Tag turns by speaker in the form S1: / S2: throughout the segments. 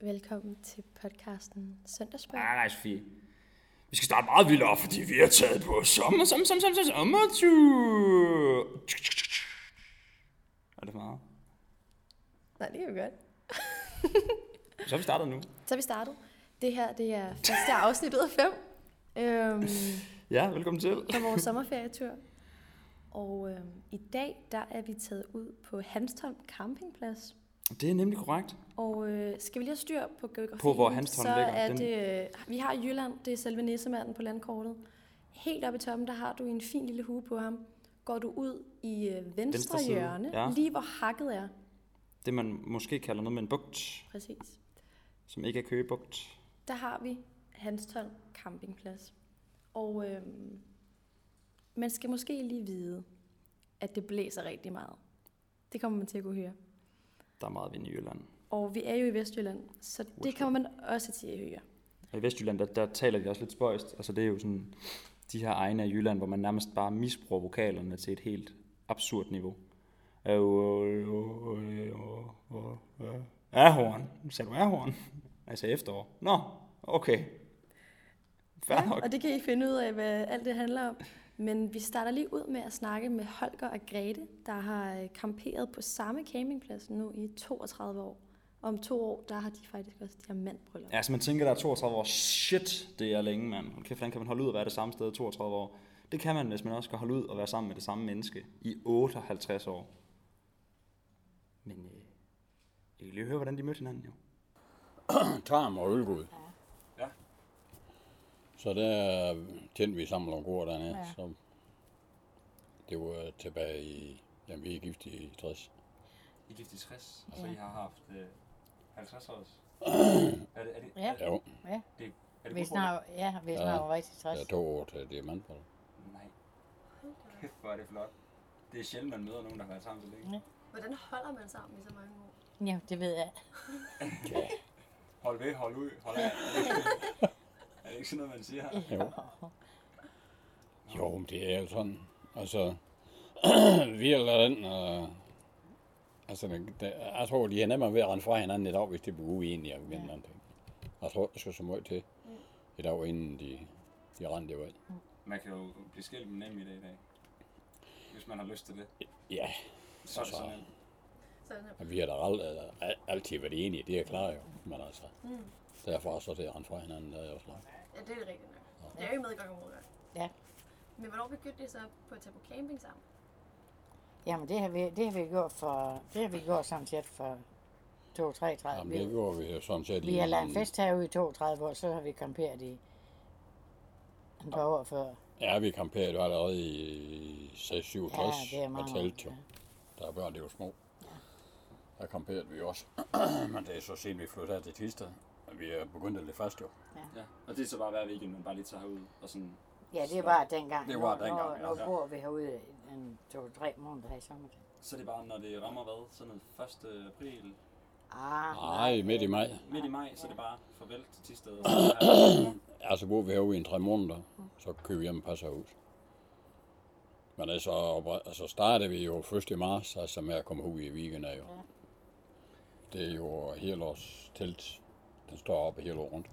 S1: Velkommen til podcasten Søndagsbrød.
S2: Ah, nej, Sofie. Vi skal starte meget vildere, fordi vi er taget på sommer, sommer, sommer, sommer, sommertur. Er det for meget?
S1: Nej, det er jo godt.
S2: Så er vi startet nu.
S1: Så er vi startet. Det her, det er første afsnit ud af fem. Øhm,
S2: Ja, velkommen til.
S1: på vores sommerferietur. Og øhm, i dag, der er vi taget ud på Hanstholm Campingplads.
S2: Det er nemlig korrekt.
S1: Og øh, skal vi lige have styr på geografien,
S2: På, hvor Hanstholm
S1: så
S2: ligger.
S1: er
S2: Den-
S1: det, øh, vi har Jylland, det er selve nissemanden på landkortet. Helt oppe i toppen, der har du en fin lille hue på ham. Går du ud i øh, venstre,
S2: Venstre
S1: venstre
S2: side,
S1: hjørne,
S2: ja.
S1: ja. lige hvor hakket er.
S2: Det, man måske kalder noget med en bugt,
S1: Præcis.
S2: som ikke er køgebugt.
S1: Der har vi Hanstholm Campingplads. Og øhm, man skal måske lige vide, at det blæser rigtig meget. Det kommer man til at kunne høre.
S2: Der er meget vind i Jylland.
S1: Og vi er jo i Vestjylland, så det kommer man også til at høre.
S2: Og i Vestjylland, der, der taler de også lidt spøjst. Altså, det er jo sådan de her egne af Jylland, hvor man nærmest bare misbruger vokalerne til et helt absurd niveau. Ahorn. Sagde du ahorn? Altså efterår. Nå, okay. Fair nok.
S1: Og det kan I finde ud af, hvad alt det handler om. Men vi starter lige ud med at snakke med Holger og Grete, der har øh, camperet på samme campingplads nu i 32 år. Og om to år, der har de faktisk også diamantbryllup.
S2: Altså, man tænker, der er 32 år. Shit, det er længe, mand. Hold kæft, hvordan kan man holde ud at være det samme sted i 32 år? Det kan man, hvis man også kan holde ud og være sammen med det samme menneske i 58 år. Men øh, jeg kan lige høre, hvordan de mødte hinanden, jo.
S3: tarm og ølgud. Ja. Så der tændte vi sammen om gård dernede. Ja. Så det var tilbage i, jamen vi er gift i 60.
S2: I er gift i 60, og så I har haft øh, 50 års. er det, er det,
S4: Ja.
S2: er det,
S3: Jo,
S4: Ja,
S2: det, er det
S4: vi
S2: Guldbryllup?
S4: snakker, ja, vi snakker ja. rigtig
S3: der er
S4: 60.
S3: to år til diamantbrød.
S2: Nej. Kæft, hvor er det flot. Det er sjældent, man møder nogen, der har været sammen så længe.
S1: Hvordan holder man sammen i så mange år?
S4: Ja, det ved jeg.
S2: Hold ved, hold ud, hold af. er det ikke sådan noget, man siger?
S3: Jo. jo, men det er jo sådan. Altså, vi eller den, og, altså, den- den- jeg tror, de er nemmere ved at rende fra hinanden i dag, hvis de bliver uenige om en eller anden ting. Jeg tror, der skal så meget til i dag, inden de, de rendte det ud.
S2: Man kan jo blive skilt med nem i dag i dag. Hvis man har lyst til det.
S3: Ja,
S2: Så er det
S3: Altså,
S2: sådan.
S3: Og vi har da ald- eller al- altid været enige, det er klart jo. Men altså, mm. derfor så det at rende fra hinanden, der er jo klart.
S5: Ja, det er rigtigt nok. Det er jo med i gang områder.
S4: Ja.
S5: Men hvornår begyndte det så på at tage på camping sammen?
S4: Jamen, det har vi, det har vi gjort for, det har vi gjort sådan set for 32
S3: Jamen, det
S4: vi,
S3: gjorde vi jo sådan set
S4: vi har lavet en
S3: en-
S4: fest herude i 32 år, så har vi kamperet i en par år før.
S3: Ja, vi kamperede jo allerede i 6-67
S4: Ja, det er
S3: og
S4: mange år,
S3: telt jo.
S4: ja.
S3: Der er børn, det er jo små. Der kamperede vi også. Men det er så sent, vi flyttede her til Tisted. Og vi er begyndt at lidt fast jo.
S2: Ja. Og det er så bare hver weekend, man bare lige tager herud og sådan...
S4: Ja, det var dengang. altså.
S3: Det var
S4: Nu-
S3: dengang, ja.
S4: Nu, nu
S3: Ja.
S4: bor vi herude en to-tre måneder her i sommer.
S2: Så er det bare, når det rammer hvad? Sådan noget 1. april,
S4: Ah,
S3: Nej, midt i maj.
S2: midt i maj, så er det bare farvel til Tisted.
S3: Altså, bor vi herude i en tre måneder, så kører vi hjem og passer hus. Men altså, opre- altså startede vi jo 1. marts, altså med at komme ud i weekenden jo. Det er jo helårs telt. Den står oppe hele året rundt.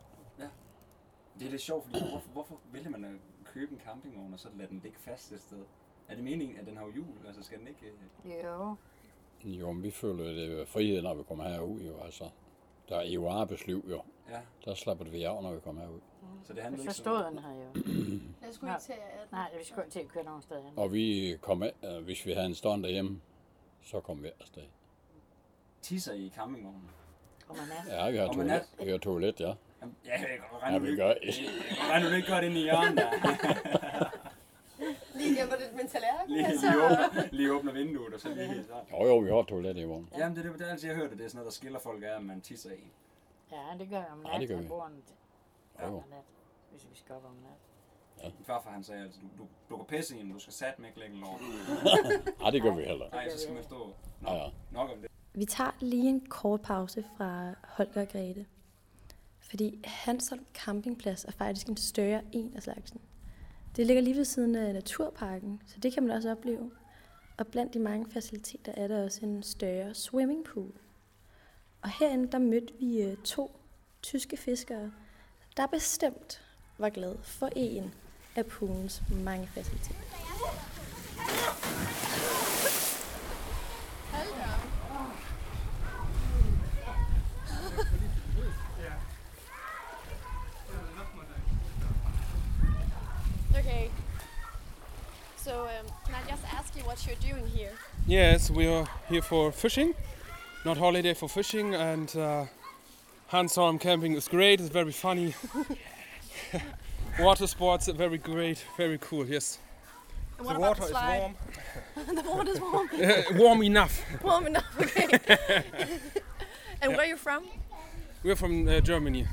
S2: Det er lidt sjovt, fordi hvorfor, hvorfor vælger man at købe en campingvogn og så lade den ligge fast et sted? Er det meningen, at den har jo hjul? Altså skal den ikke... øh,
S4: Jo,
S3: Jo, men vi føler det er frihed, når vi kommer herud jo, altså. Der er jo arbejdsliv jo.
S2: Ja,
S3: Der slapper vi af, når vi kommer herud.
S2: så det handler
S4: så
S2: ikke
S4: stod
S2: meget-
S4: den her jo.
S5: Jeg skulle
S4: Nå.
S5: ikke tage at...
S4: Nej, vi skulle ikke til at køre nogen steder. hen.
S3: Og vi kom af, øh, hvis vi havde en stund derhjemme, så kom vi afsted.
S2: Tisser i campingvognen.
S4: Kommer nat.
S3: Ja, vi har
S2: Om en
S3: toilet. Vi har toilet, ja.
S2: Jamen, Ja, jeg kan godt
S3: Ja,
S2: regne,
S3: vi
S2: du ikke-
S3: gør.
S2: jeg kan regne, du ikke godt ind i hjørnet der.
S5: Lige der var det med tallerken.
S2: Lige, lige, åbner, lige åbner vinduet og så lige så.
S3: Jo, jo, vi har toilet i vognen.
S2: Jamen, det, er det, det er altid, jeg hørt, at det er sådan noget, der skiller folk af, om man tisser i.
S4: Ja, det gør jeg om
S3: Ja, det
S4: natten.
S3: gør
S4: Ja,
S3: vi.
S4: det gør vi.
S3: Jo, jo.
S4: Om natten, hvis vi skal op om natten.
S2: Min farfar, han sagde altid, du, du, du kan pisse i, men du skal sat med ikke længe lov.
S3: Nej, det gør vi heller.
S2: Nej, så skal man stå. Nå,
S3: Ja, ja.
S2: nok om det.
S1: Vi tager lige en kort pause fra Holger og Grete. Fordi Hanstholm Campingplads er faktisk en større en af slagsen. Det ligger lige ved siden af naturparken, så det kan man også opleve. Og blandt de mange faciliteter er der også en større swimmingpool. Og herinde, der mødte vi øh, to tyske fiskere, der bestemt var glade for en af poolens mange faciliteter.
S6: Okay. So, um, can I just ask you what you're doing here?
S7: Yes, we are here for fishing, not holiday for fishing, and uh, hands-on camping is great. It's very funny. Water sports are very great, very cool. Yes,
S6: And
S7: the
S6: what
S7: water
S6: about
S7: is
S6: the slide?
S7: warm,
S6: the water is warm.
S7: Uh, warm enough.
S6: warm enough, okay. and where are you from?
S7: We're from uh, Germany,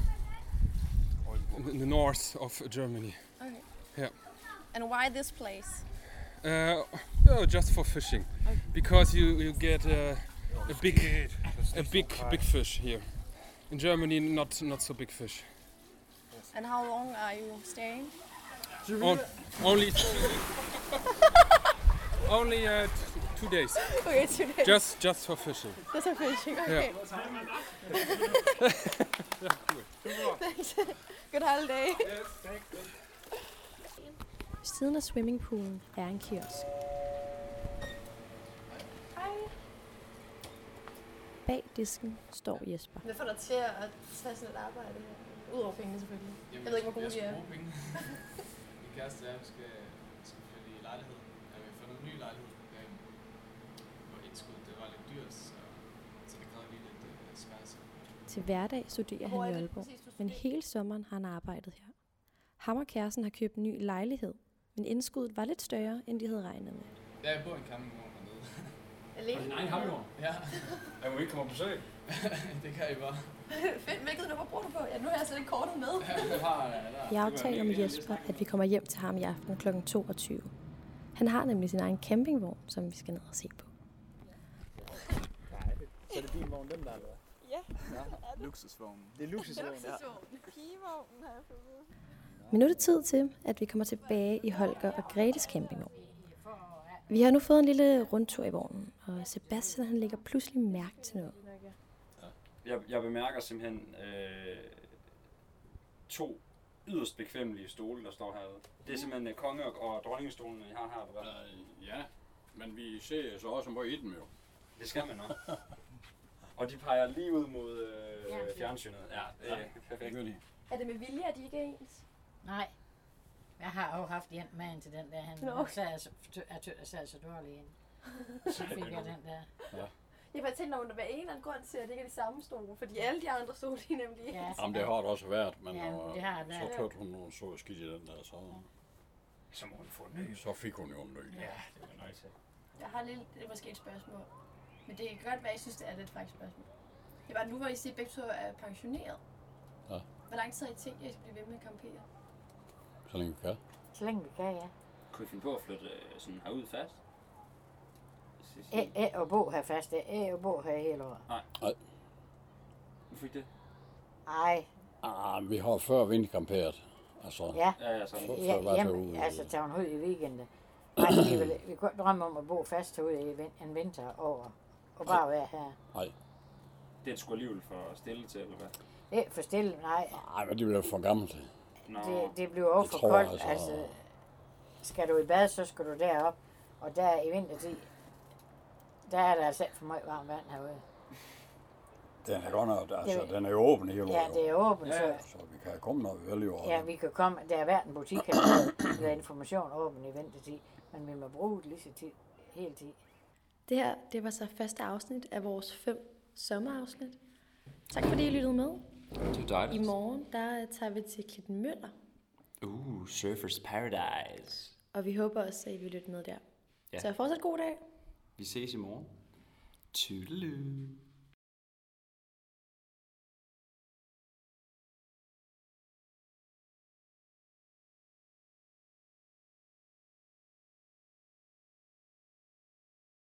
S7: in- in the north of Germany.
S6: Okay.
S7: Yeah.
S6: And why this place?
S7: Uh, no, just for fishing, because you you get uh, a big a big big fish here. In Germany, not not so big fish.
S6: And how long are you staying?
S7: On, only only uh, t- two days,
S6: Okay, today.
S7: just just for fishing.
S6: Just for fishing. Okay. Thanks. Good holiday.
S1: Ved siden af swimmingpoolen er en kiosk. Bag disken står Jesper.
S5: Hvad får dig til at tage sådan et arbejde her? Udover pengene selvfølgelig. Jeg ved ikke, hvor gode de er.
S8: Min kæreste er, vi skal, skal flytte i lejlighed. Ja, vi har fundet en ny lejlighed. øhm, Hvor indskuddet det var lidt dyrt, så, så det krævede lige lidt øh, sparelse.
S1: Til hverdag studerer
S5: Hvor
S1: han i
S5: er det
S1: Aalborg,
S5: præcis, du
S1: men
S5: studerer?
S1: hele sommeren har han arbejdet her. Ham og kæresten har købt en ny lejlighed, men indskuddet var lidt større, end de havde regnet med.
S8: Ja, jeg bor i en campingvogn dernede.
S5: Alene?
S8: egen campingvogn? Ja,
S2: Jeg må ikke komme på besøg.
S8: det kan I bare.
S6: Fedt. Hvilket nummer bruger du på? Ja, nu har jeg slet ikke kortet med.
S8: Ja, det har jeg der.
S1: Jeg aftaler med Jesper, at vi kommer hjem til ham i aften kl. 22. Han har nemlig sin egen campingvogn, som vi skal ned og se på.
S9: Så er det din vogn, den der, eller hvad?
S8: Luksusvognen.
S9: Det er luksusvognen, ja.
S6: Pigevognen har jeg fået.
S1: Men nu er det tid til, at vi kommer tilbage i Holger og Gretes campingvogn. Vi har nu fået en lille rundtur i vognen, og Sebastian han lægger pludselig mærke til noget.
S2: Jeg, jeg bemærker simpelthen øh, to yderst bekvemmelige stole, der står herude. Det er simpelthen øh, konge- og og dronningestolen, I har heroppe. hva'?
S3: Øh, ja, men vi ser så også på i den jo.
S2: Det skal man nok. Og de peger lige ud mod øh, fjernsynet. Ja, øh, perfekt.
S3: Gør de?
S5: Er det med vilje, at de ikke er ens?
S4: Nej. Jeg har jo haft en med til den der, han
S5: Nå.
S4: no. sad, så- tø- er tø- sad så dårlig ind. Så fik jeg den der.
S5: Jeg bare tænkte, om der var en eller anden grund til, at det ikke er de samme stole. Fordi alle de andre stole, de er nemlig
S4: Ja,
S3: Jamen, det har øh, det også været, men
S4: Ja,
S3: når,
S4: det har det
S3: så
S4: været.
S3: tog hun nogle så skidt i den der, så,
S2: Så må hun få en ny.
S3: så fik hun jo en ny.
S2: Ja, det var nøjt til.
S5: Jeg har lidt, det er måske et spørgsmål. Men det kan godt være, at I synes, det er lidt faktisk spørgsmål. Det er bare nu, hvor I siger, at begge to er pensioneret.
S3: Ja.
S5: Hvor lang tid har I tænkt, at I skal blive ved med at kampere?
S3: Så længe vi kan.
S4: Så længe vi kan, ja.
S2: Kunne I finde på at flytte øh, sådan herud fast? Cecilie,
S4: Æ, æ, og bo her fast, æ, og bo her hele året.
S2: Hvorfor ikke det?
S4: Ej,
S3: Ah, vi har før vinterkamperet. Altså,
S4: ja.
S2: Ja, ja, så
S3: Så
S4: ja
S3: var øh. det
S4: jamen,
S3: ud.
S4: altså tage hun ud i weekenden. Nej, vi, vil, vi kunne ikke drømme om at bo fast herude i vin- en vinter over. Og bare være her.
S2: det er sgu alligevel for stille til, eller hvad?
S4: Ikke for stille, nej.
S3: Ej, men det blev for gammelt.
S2: Nå,
S4: Det, det bliver over
S3: Det
S4: for
S3: tror jeg
S4: koldt. Altså.
S3: altså.
S4: altså, skal du i bad, så skal du derop. Og der i vintertid, der er der altså ikke for meget varmt vand herude.
S3: Den er godt nok, altså,
S4: Det-
S3: den er jo åben hele året.
S4: Ja, det er åbent,
S2: Ja,
S4: så
S2: ja.
S3: Så vi kan komme, når vi vil jo.
S4: ja, vi kan komme. Der er hver en butik her, der er information åben i vintertid. Men vi må bruge det lige så tid, hele tid.
S1: Det her, det var så første afsnit af vores fem sommerafsnit. Tak fordi I lyttede med.
S2: det er
S1: I
S2: dejligt.
S1: morgen, der øh, tager vi til Klitten Møller,
S2: Uh, Surfers Paradise.
S1: og vi håber også, at I vil lytte med der.
S2: Ja.
S1: Så fortsat god dag.
S2: Vi ses i morgen. Toodaloo.